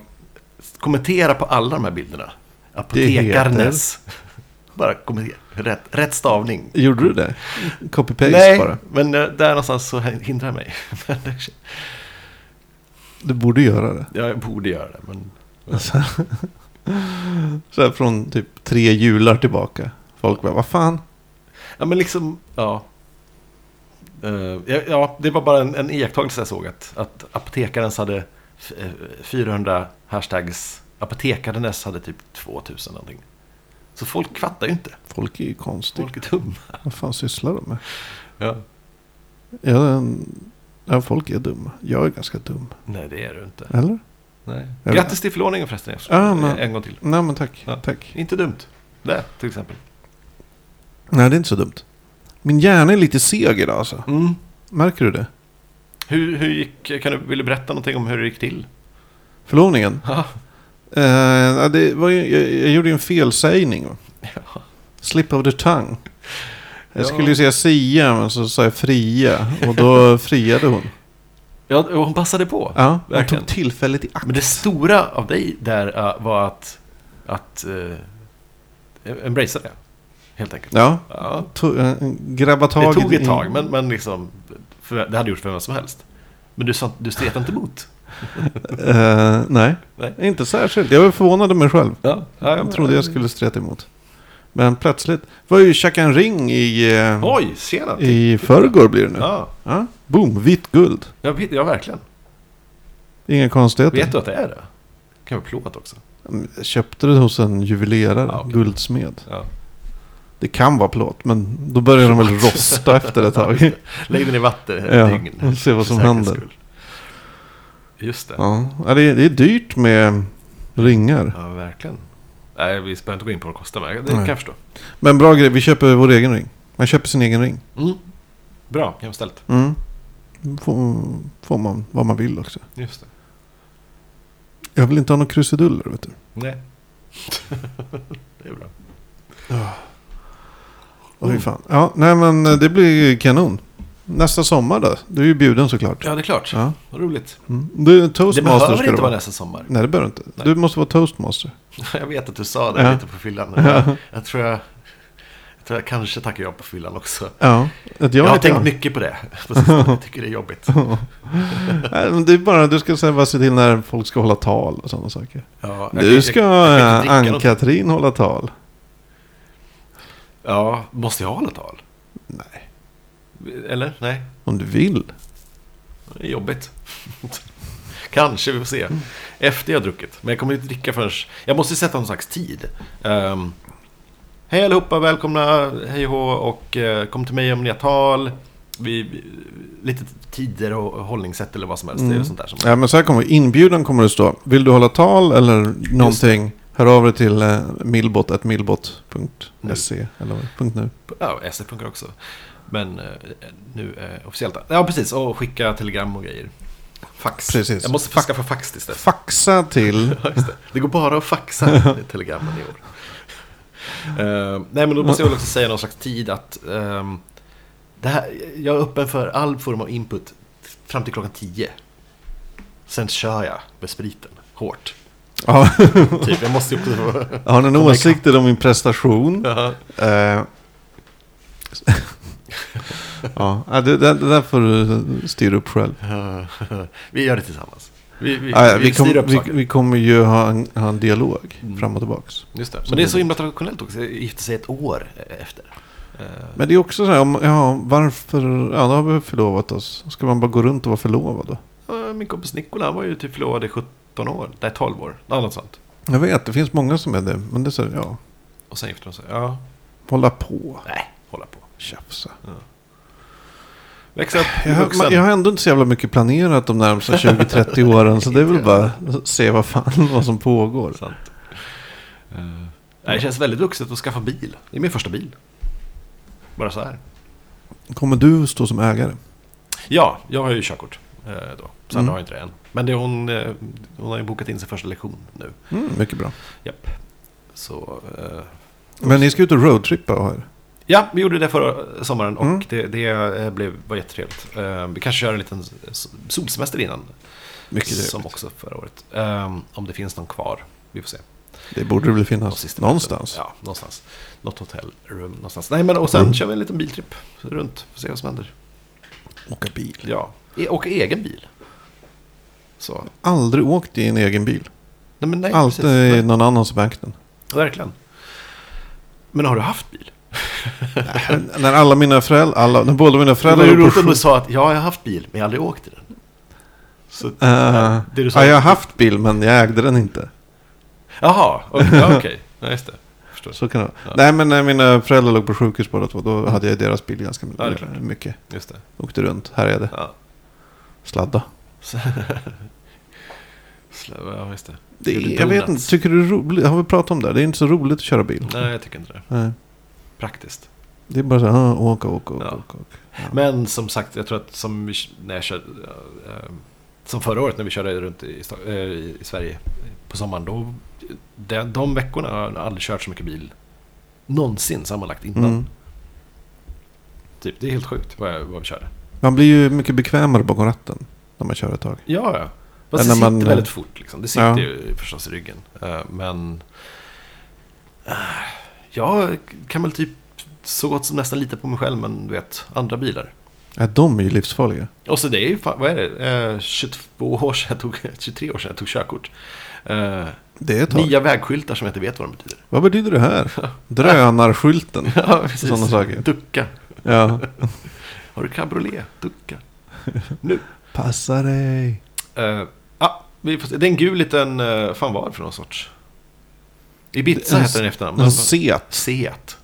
S1: kommentera på alla de här bilderna. Apotekarnes. Bara kommentera. Rätt, rätt stavning.
S2: Gjorde du det? Copy-paste
S1: Nej,
S2: bara.
S1: men eh, där någonstans så hindrar jag mig. Men det-
S2: Du borde göra det.
S1: jag borde göra det, men...
S2: Så här från typ tre jular tillbaka. Folk bara, vad fan?
S1: Ja, men liksom, ja. Eh, ja, ja, det var bara en, en iakttagelse jag såg att, att apotekarens hade f- eh, 400 hashtags. Apotekarnes hade typ 2000 någonting. Så folk fattar ju inte.
S2: Folk är ju konstiga.
S1: Folk är dumma.
S2: Vad fan sysslar de med?
S1: Ja.
S2: Ja, en- ja, folk är dumma. Jag är ganska dum.
S1: Nej, det är du inte.
S2: Eller?
S1: Nej.
S2: Ja.
S1: Grattis till förlåningen förresten.
S2: Ja,
S1: Ah,
S2: men-
S1: En gång till.
S2: Nej, men tack.
S1: Ja.
S2: Tack.
S1: Inte dumt. Det, till exempel.
S2: Nej, det är inte så dumt. Min hjärna är lite seg idag alltså.
S1: Mm.
S2: Märker du det?
S1: Hur, hur gick, kan du, vill du berätta någonting om hur det gick till?
S2: Förlovningen?
S1: Ja.
S2: Eh, ja, det var ju, jag, jag gjorde ju en felsägning. va? Slip of the tongue. Jag
S1: Ja.
S2: skulle ju säga sia, men så sa jag fria. Och då friade hon.
S1: Ja, och hon passade på.
S2: Ja, hon
S1: Verkligen.
S2: tog tillfället i akt.
S1: Men det stora av dig där eh, var att, att uh, embracea det, helt enkelt.
S2: Ja,
S1: Ja,
S2: to- eh, grabba
S1: det
S2: tag
S1: tog
S2: i-
S1: ett tag, men, men liksom, för, det hade gjort för vem som helst. Men du, sa, du stretade inte emot.
S2: Eh, nej.
S1: Nej.
S2: inte särskilt. Jag var förvånad över mig själv.
S1: Ja,
S2: Jag trodde jag skulle streta emot. Men plötsligt var ju Chaka en ring i, eh,
S1: Oj, tjena!
S2: i förrgår blir det nu.
S1: Ja,
S2: Ja. Boom, vitt guld.
S1: jag vet, ja, verkligen.
S2: Inga konstigheter.
S1: Vet du att det är det? Kan vara plåt också.
S2: Mm, Jag köpte det hos en juvelerare,
S1: Ah, okej.
S2: guldsmed.
S1: Ja.
S2: Det kan vara plåt, men då börjar de väl rosta efter ett tag.
S1: Lägg den i vatten ett
S2: Ja,
S1: dygn.
S2: och se vad
S1: för
S2: som
S1: säkerhets
S2: händer.
S1: skull. Just det. Ja,
S2: Ja, Ja, det är, det är dyrt med ringar.
S1: verkligen. Nej, vi behöver inte gå in på vad det kostar, men det
S2: Nej.
S1: kan jag förstå.
S2: Men bra grej, vi köper vår egen ring. Man köper sin egen ring.
S1: Mm. Bra, jämställt.
S2: Mm. Får, får man vad man vill också.
S1: Just det.
S2: Jag vill inte ha några krusiduller, vet du.
S1: Nej. det är bra.
S2: Oj, fan. Ja, nej men eh, det blir kanon. Nästa sommar då? Du är ju bjuden såklart.
S1: Ja, det är klart.
S2: Ja.
S1: Vad roligt.
S2: Mm. Du,
S1: Det
S2: toastmaster
S1: behöver
S2: ska du
S1: inte vara
S2: vara.
S1: nästa sommar.
S2: Nej, det behöver du inte.
S1: Nej.
S2: Du måste vara toastmaster.
S1: Jag vet att du sa det
S2: Ja.
S1: lite på fyllan.
S2: Ja.
S1: Jag, jag, tror jag, jag tror jag kanske tackar ja på fyllan också.
S2: Ja. Att jag
S1: jag har
S2: är
S1: tänkt
S2: jag.
S1: mycket på det. på sistone. Jag tycker det är jobbigt.
S2: Nej, men det är bara, du ska säga vad se till när folk ska hålla tal och sådana saker.
S1: Ja, jag-
S2: Nu
S1: jag-
S2: ska
S1: jag kan inte dricka
S2: eh,
S1: någonting.
S2: Ann-Katrin hålla tal.
S1: Ja, måste jag hålla tal?
S2: Nej.
S1: Eller? Nej,
S2: Om du vill.
S1: det är jobbigt. Kanske, vi får se. Efter jag har druckit. Men jag kommer inte dricka förrän... Jag måste sätta någon slags tid. Ehm, hej allihopa, välkomna, hej och hå, och eh, kom till mig om ni har tal. Vi, vi- lite tider och hållningssätt eller vad som helst. Det är ju sånt där som...
S2: Ja, men så här kommer inbjudan kommer det stå. Vill du hålla tal eller någonting? Hör av dig till eh, millbot.millbot.se eller vad- punkt nu.
S1: Ja, och SF funkar också. Men eh, nu eh, officiellt. Ja, precis. Och skicka telegram och grejer. Fax.
S2: Precis.
S1: Jag måste faxa för fax tills dess.
S2: Faxa till...
S1: Ja, just det. det går bara att faxa med telegrammen i år. Eh, nej, men då måste jag väl också säga någon slags tid att ehm, det här, jag är öppen för all form av input fram till klockan 10. Sen kör jag med spriten hårt.
S2: Ja,
S1: Typ, jag måste ju också få...
S2: har ni några åsikter om min prestation?
S1: Ja.
S2: Eh, ja, ja, det, det, det där får du styra upp själv.
S1: Vi gör det tillsammans. Vi, vi,
S2: Ja, ja,
S1: vi,
S2: vi, kom,
S1: styr upp
S2: vi,
S1: saker. Mm.
S2: vi kommer ju ha en, ha en dialog fram och tillbaks.
S1: Just det. Men det är så himla traditionellt också. Gifta sig ett år efter. Eh,
S2: Men det är också så här, om, ja, varför, ja då har vi förlovat oss. Ska man bara gå runt och vara förlovad då?
S1: ja, Min kompis Nikola han var ju typ förlovad i 17 år. Nej, 12 år. Ja, Något sånt.
S2: Jag vet, det finns många som är det. Men det är så här, ja,
S1: Och sen gifte de sig. Ja,
S2: hålla på,
S1: nej, hålla på.
S2: tjafsa.
S1: Växa upp,
S2: Jag,
S1: bli
S2: har-
S1: vuxen.
S2: jag har ändå inte så jävla mycket planerat de närmsta 20-30 åren. Så det är väl bara se vad fan vad som pågår.
S1: Sant. Eh, nej, det känns väldigt vuxet att skaffa bil. Det är min första bil. Bara så här.
S2: Kommer du stå som ägare?
S1: Ja, jag har ju körkort eh, då. Sen
S2: Mm.
S1: har jag inte det än. Men det är hon, eh, hon har ju bokat in sin första lektion nu.
S2: Mm, mycket bra.
S1: Japp. Så, eh,
S2: Men ni ska ut och roadtrippa och här.
S1: ja, vi gjorde det förra sommaren och
S2: Mm.
S1: det, det eh, blev, var jättetrevligt. Eh, vi kanske kör en liten s- solsemester innan.
S2: Mycket trevligt.
S1: som också förra året. Eh, om det finns någon kvar. Vi får se.
S2: Det borde det väl
S1: Och
S2: finnas
S1: sista
S2: någonstans. Mm.
S1: platsen. Ja, någonstans. Något hotellrum någonstans. Nej, men och sen kör vi en liten biltripp runt. Får se vad som händer.
S2: Åka bil.
S1: Ja, e- åka egen bil. Så.
S2: Aldrig åkt i en egen bil.
S1: Nej, men nej,
S2: Alltid
S1: precis.
S2: är någon annan som ägt den.
S1: Verkligen. Men har du haft bil?
S2: Men När alla mina föräldrar, alla, när båda mina
S1: Det var
S2: föräldrar
S1: ju
S2: gjorde
S1: roligt om du sa att ja, jag har haft bil, men jag har aldrig åkt i den. Så,
S2: Eh,
S1: det du sa.
S2: ja, jag har haft bil men jag ägde den inte.
S1: Jaha, okej. Ja, okej. Ja, just det. Förstår.
S2: Så kan det vara.
S1: Ja. Mm.
S2: Nej men när mina föräldrar låg på sjukhus båda två då hade jag deras bil ganska
S1: Ja, det är klart.
S2: mycket.
S1: Just det.
S2: Åkte runt, härjade,
S1: Ja.
S2: sladda.
S1: Så- Så- Ja, just det.
S2: Det,
S1: Gjorde
S2: jag vet inte,
S1: donuts.
S2: tycker du det är roligt? Har vi pratat om det? här? Det är inte så roligt att köra bil.
S1: Nej, jag tycker inte det.
S2: Nej.
S1: Praktiskt.
S2: Det är bara så här, ah, åka, åka, åka,
S1: Ja.
S2: åka. åka. Ja.
S1: Men som sagt, jag tror att som, vi- när jag körde, eh, som förra året när vi körde runt i, Sta- eh, i Sverige på sommaren. Då, de, de veckorna har jag aldrig kört så mycket bil någonsin sammanlagt innan.
S2: Mm.
S1: Typ, det är helt sjukt vad, jag, vad vi körde.
S2: Man blir ju mycket bekvämare bakom ratten när man kör ett tag.
S1: Ja, ja. Fast
S2: Än
S1: det
S2: när
S1: sitter
S2: man-
S1: väldigt fort. Liksom. Det sitter
S2: Ja.
S1: ju förstås i ryggen. Eh, Men eh, jag kan väl typ så gott som nästan lita på mig själv. Men du vet, andra bilar.
S2: Ja, de är ju livsfarliga.
S1: Och så det är ju, fan, vad är det, Eh, 22 år sedan jag tog, 23 år sedan jag tog körkort. Eh,
S2: Det är ett tag.
S1: nya vägskyltar som jag inte vet vad de betyder.
S2: Vad betyder det här? Drönarskylten.
S1: Ja, precis.
S2: Sådana saker.
S1: Ducka.
S2: Ja.
S1: Har du cabriolet? Ducka. Nu.
S2: Passa dig.
S1: Eh, ah, vi får se. Det är en gul liten, eh, fan vad är det för någon sorts? Ibiza
S2: En-
S1: heter den i efternamn.
S2: En set.
S1: Seat.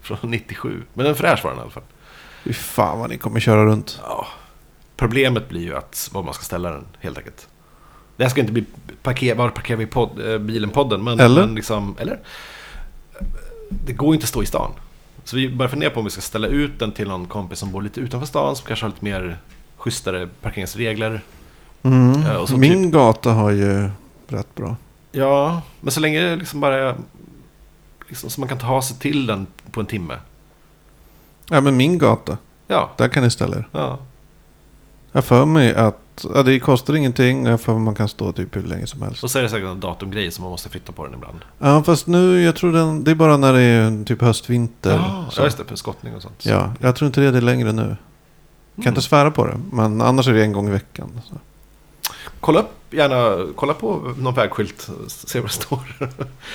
S1: Från 97. Men en fräsch var den i alla fall.
S2: Fy fan vad ni kommer köra runt.
S1: Ja. Problemet blir ju att var man ska ställa den helt enkelt. Det här ska inte bli parker, var parkerar vi pod, eh, bilen podden. Men,
S2: Eller?
S1: Men liksom, eller? Det går ju inte att stå i stan. Så vi börjar fundera på om vi ska ställa ut den till någon kompis som bor lite utanför stan. Som kanske har lite mer schysstare parkeringsregler.
S2: Mm.
S1: Ja, och så typ-
S2: Min gata har ju rätt bra.
S1: Ja, men så länge det liksom bara är... Liksom, så man kan ta sig till den på en timme.
S2: Ja men min gata.
S1: Ja,
S2: Där kan ni ställa er.
S1: ja.
S2: Jag för mig att ja, det kostar ingenting. Jag för mig man kan stå typ hur länge som helst.
S1: Och så är det säkert en datumgrej som man måste flytta på den ibland.
S2: Ja fast nu, jag tror den, det är bara när det är typ höstvinter.
S1: Ja,
S2: så.
S1: ja, Ah, just det. För skottning och sånt.
S2: ja, jag tror inte det är det längre nu. Kan
S1: Mm.
S2: inte svära på det. Men annars är det en gång i veckan. Så.
S1: Kolla upp, gärna kolla på någon vägskylt, se vad det står.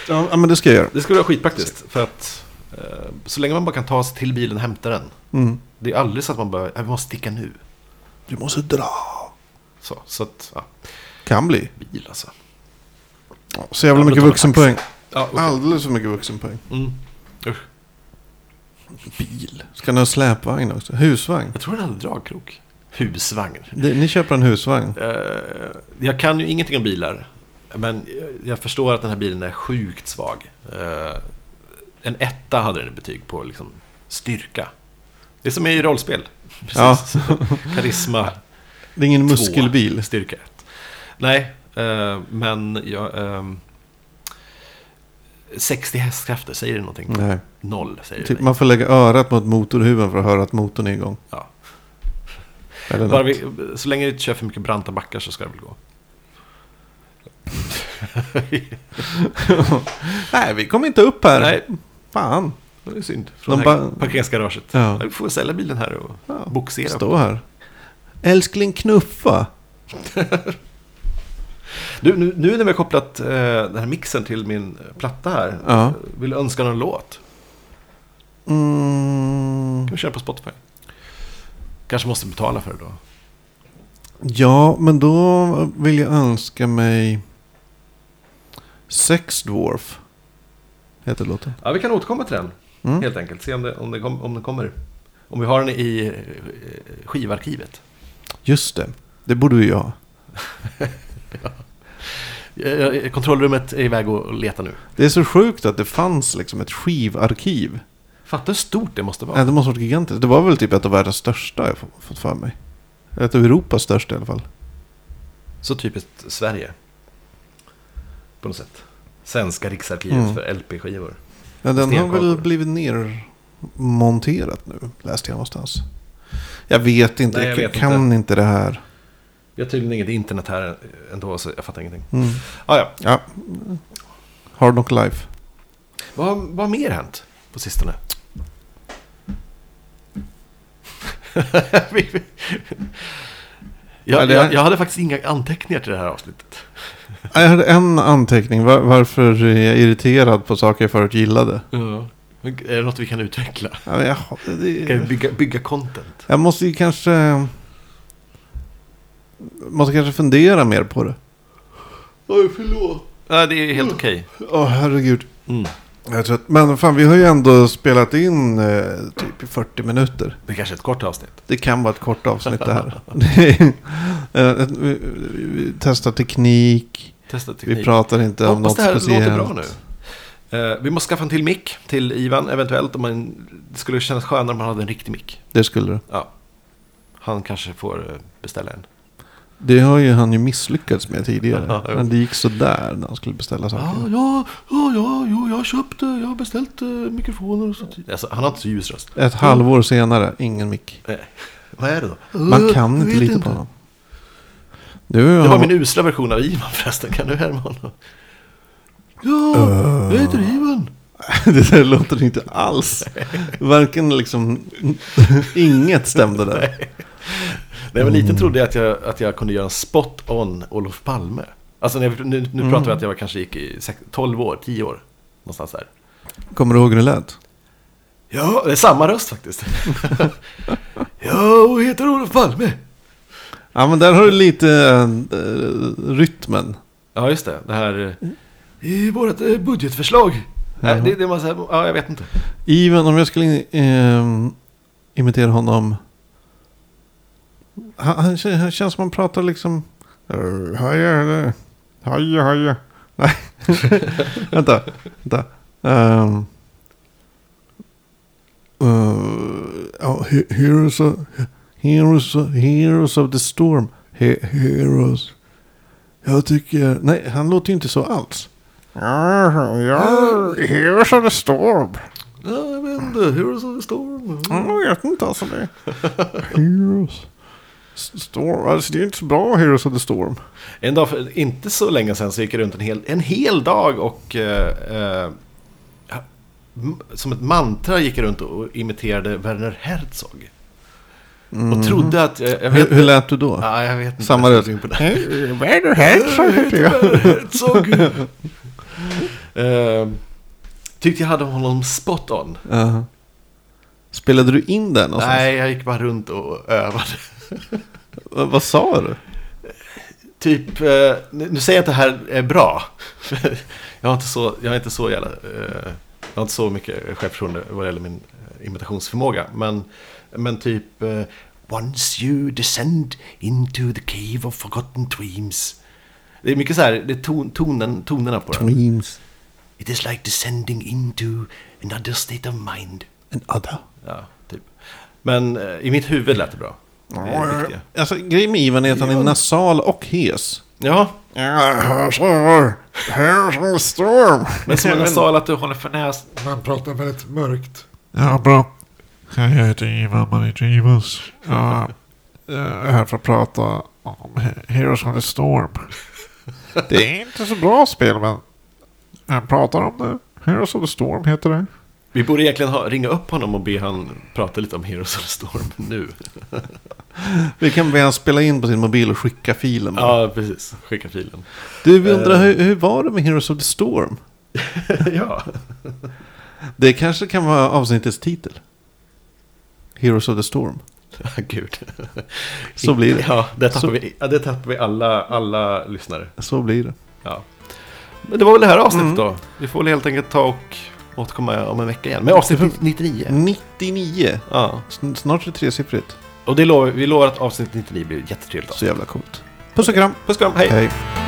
S2: Ja men det ska jag göra.
S1: Det skulle vara skitpraktiskt, för att eh, så länge man bara kan ta sig till bilen och hämta den.
S2: Mm.
S1: Det är aldrig så att man bara, "Nej, vi måste sticka nu.
S2: Du måste dra.
S1: Så, så att, ja,
S2: Kan bli.
S1: bil alltså.
S2: Ja, Så jävla
S1: Ja, men
S2: mycket
S1: då tar vi
S2: vuxenpoäng.
S1: Ja, okej.
S2: Alldeles för mycket vuxenpoäng.
S1: mm. Usch,
S2: Bil. Ska ni ha släpvagn också? Husvagn?
S1: jag tror den hade dragkrok. Husvagn.
S2: Det- Ni köper en husvagn?
S1: Eh, jag kan ju ingenting om bilar, men jag förstår att den här bilen är sjukt svag. Eh, en etta hade den i betyg på liksom, styrka. Det är som i rollspel. Precis. Karisma.
S2: Det är ingen
S1: Två.
S2: muskelbil.
S1: Styrka 1. Nej, eh, men jag... ehm, 60 hästkrafter, säger det någonting?
S2: Nej.
S1: Noll, säger det
S2: Mm. Typ,
S1: mig.
S2: man får lägga örat mot motorhuven för att höra att motorn är igång.
S1: Ja.
S2: Eller
S1: Bara
S2: något.
S1: vi, så länge du inte kör för mycket branta backar så ska det väl gå.
S2: Nej, vi kom inte upp här.
S1: Nej.
S2: Fan.
S1: Det är synd. Från
S2: De
S1: det här
S2: bara-
S1: parkeringsgaraget.
S2: Ja.
S1: Vi får sälja bilen här och boxera.
S2: Stå här. Älskling knuffa.
S1: Du, nu, nu när vi har kopplat eh, den här mixen till min platta här.
S2: Ja.
S1: Vill du önska någon låt?
S2: Mm.
S1: kan vi köra på Spotify. Kanske måste betala för det då.
S2: Ja, men då vill jag önska mig Sex Dwarf. Heter låten.
S1: Ja, vi kan återkomma till den.
S2: Mm.
S1: Helt enkelt. Se om, det, om, det kom, om den kommer. Om vi har den i eh, skivarkivet.
S2: Just det. Det borde ju jag.
S1: Eh, eh, Kontrollrummet är iväg och letar nu.
S2: Det är så sjukt att det fanns liksom ett skivarkiv.
S1: Fatta hur stort det måste vara.
S2: Ja. Det måste ha varit gigantiskt. Det var väl typ ett av världens största jag har fått för mig. Ett av Europas största i alla fall.
S1: Så typiskt Sverige. På något sätt. Svenska riksarkivet
S2: Mm.
S1: för LP-skivor.
S2: Ja, den har
S1: Stenkakor.
S2: väl blivit nermonterad nu, läste jag någonstans. Jag vet inte,
S1: Nej, jag
S2: jag
S1: vet
S2: kan inte. det här.
S1: Vi har tydligen inget internet här ändå, så jag fattar ingenting.
S2: Mm.
S1: Ah, ja.
S2: Ja. Hard Knock Life.
S1: Vad, har- vad har mer hänt på sistone? Vi- jag,
S2: Eller-
S1: jag, jag hade faktiskt inga anteckningar till det här avsnittet.
S2: Ja, Jag hade en anteckning, var, varför är jag irriterad på saker jag förut gillade?
S1: Men Är det något vi kan utveckla?
S2: Ja, men Jag,
S1: Kan vi
S2: det,
S1: bygga, bygga content?
S2: jag måste ju kanske... Måste kanske fundera mer på det.
S1: Oj, förlåt. Nej, det är helt okej.
S2: Åh, herregud.
S1: Mm.
S2: Jag tror att, men fan, vi har ju ändå spelat in eh, typ i 40 minuter.
S1: Det är kanske är ett kort avsnitt.
S2: Det kan vara ett kort avsnitt det här. Det är- eh, vi, vi- vi testar teknik.
S1: Testa teknik.
S2: Vi pratar inte om
S1: Hoppas
S2: något
S1: det här
S2: speciellt.
S1: låter bra nu. Eh, vi måste skaffa en till mick till Ivan, eventuellt. Om man, det skulle kännas skönare om han hade en riktig mick.
S2: Det skulle du.
S1: Ja. Han kanske får eh, beställa en.
S2: Det har ju han ju misslyckats med tidigare.
S1: Ja, jo. Ah.
S2: Men det gick sådär när han skulle beställa
S1: Ja,
S2: saker.
S1: ja, ja, ja, jo, jag har köpt, eh, jag har beställt eh, mikrofoner och sånt. Alltså, han har inte så ljus röst.
S2: Ett halvår senare, ingen mick.
S1: Eh, Vad är det då?
S2: Man kan
S1: Eh, jag
S2: inte
S1: vet
S2: lita på honom. Nu
S1: Det
S2: har
S1: var min usla version av Ivan förresten, kan du härma honom? Ja, jag heter Ivan.
S2: det där låter inte alls. Varken liksom... Inget stämde där.
S1: När jag var liten trodde jag att jag, att jag kunde göra en spot on Olof Palme. Alltså när jag, nu, nu pratar vi att jag var, kanske gick i sex- 12 år, 10 år. Någonstans där.
S2: Kommer du ihåg hur det lät?
S1: Ja, det är samma röst faktiskt. jag heter Olof Palme.
S2: Ja, men där har du lite eh, rytmen.
S1: Ja, just det. Det här... eh, I vårt eh, budgetförslag. Nej, det, det är massa... Ja, jag vet inte.
S2: Ivan, om jag skulle ehm, imitera honom. Han, han, kän- han känns som han pratar liksom... "Eh, Haja, eller- haja, haja. Nej, vänta. vänta. Um, eh, heroes, of, heroes, of, heroes of the storm. He, heroes. Jag tycker... Nej, han låter ju inte så alls. Heroes of the storm.
S1: Ja, jag vet inte. Heroes of the storm.
S2: Mm, jag vet inte alltså det. Heroes. S- Storm. Alltså det är inte så bra Heroes of the Storm.
S1: En dag för inte så länge sedan så gick jag runt en hel, en hel dag och... Eh, eh, ha- m- som ett mantra gick jag runt och imiterade Werner Herzog. Och trodde att... Jag, jag vet,
S2: Mm. Hur, hur lät du då?
S1: ja, jag vet inte.
S2: Samma
S1: Jag
S2: röst.
S1: tänkte inte på det.
S2: Werner Herzog heter jag.
S1: Herzog. Eh, Tyckte jag hade honom spot on.
S2: Ja. Spelade du in den någonstans?
S1: Nej, jag gick bara runt och övade.
S2: V- vad sa du?
S1: Typ, eh, nu nu säger jag att det här är bra. jag, har inte så, jag har inte så jävla... Eh, jag har inte så mycket självförtroende vad gäller min eh, imitationsförmåga. Men, men typ... Eh, Once you descend into the cave of forgotten dreams. Det är mycket så här, det är ton, tonen, tonerna på den.
S2: Dreams
S1: It is like descending into another state of mind.
S2: and other.
S1: Ja, typ. Men eh, i mitt huvud lät det bra. Det är det viktiga.
S2: Alltså grejen med Ivan är att han är nasal och hes.
S1: Ja,
S2: Heroes of the Storm.
S1: men som jag sa att du håller för näs...
S4: Man pratar väldigt mörkt.
S2: Ja, bra.
S5: Hej, jag heter Ivan, man heter Ivans. eh, Jag är här för att prata om He- Heroes of the Storm. Det är inte så bra spel, men jag pratar om det. Heroes of the Storm heter det.
S1: Vi borde egentligen ha, ringa upp honom och be han prata lite om Heroes of the Storm nu.
S2: Vi kan väl spela in på sin mobil och skicka filen. bara.
S1: Ja, precis. Skicka filen.
S2: Du, vi undrar hur, hur var det med Heroes of the Storm?
S1: ja.
S2: Det kanske kan vara avsnittets titel. Heroes of the Storm.
S1: Gud.
S2: Så blir det.
S1: Ja, det tappar
S2: Så-
S1: vi, ja, det tappar vi alla, alla lyssnare.
S2: Så blir det.
S1: Ja. Men det var väl det här avsnittet då. Vi får väl helt enkelt ta och återkomma om en vecka igen. Men avsnitt 99.
S2: 99.
S1: Ja.
S2: Sn- Snart är det tresiffrigt.
S1: Och det lovar, vi lovar att avsnitt 99 blir jättetrevligt.
S2: Så jävla coolt.
S1: Puss och kram. Puss och kram. Hej.
S2: Hej.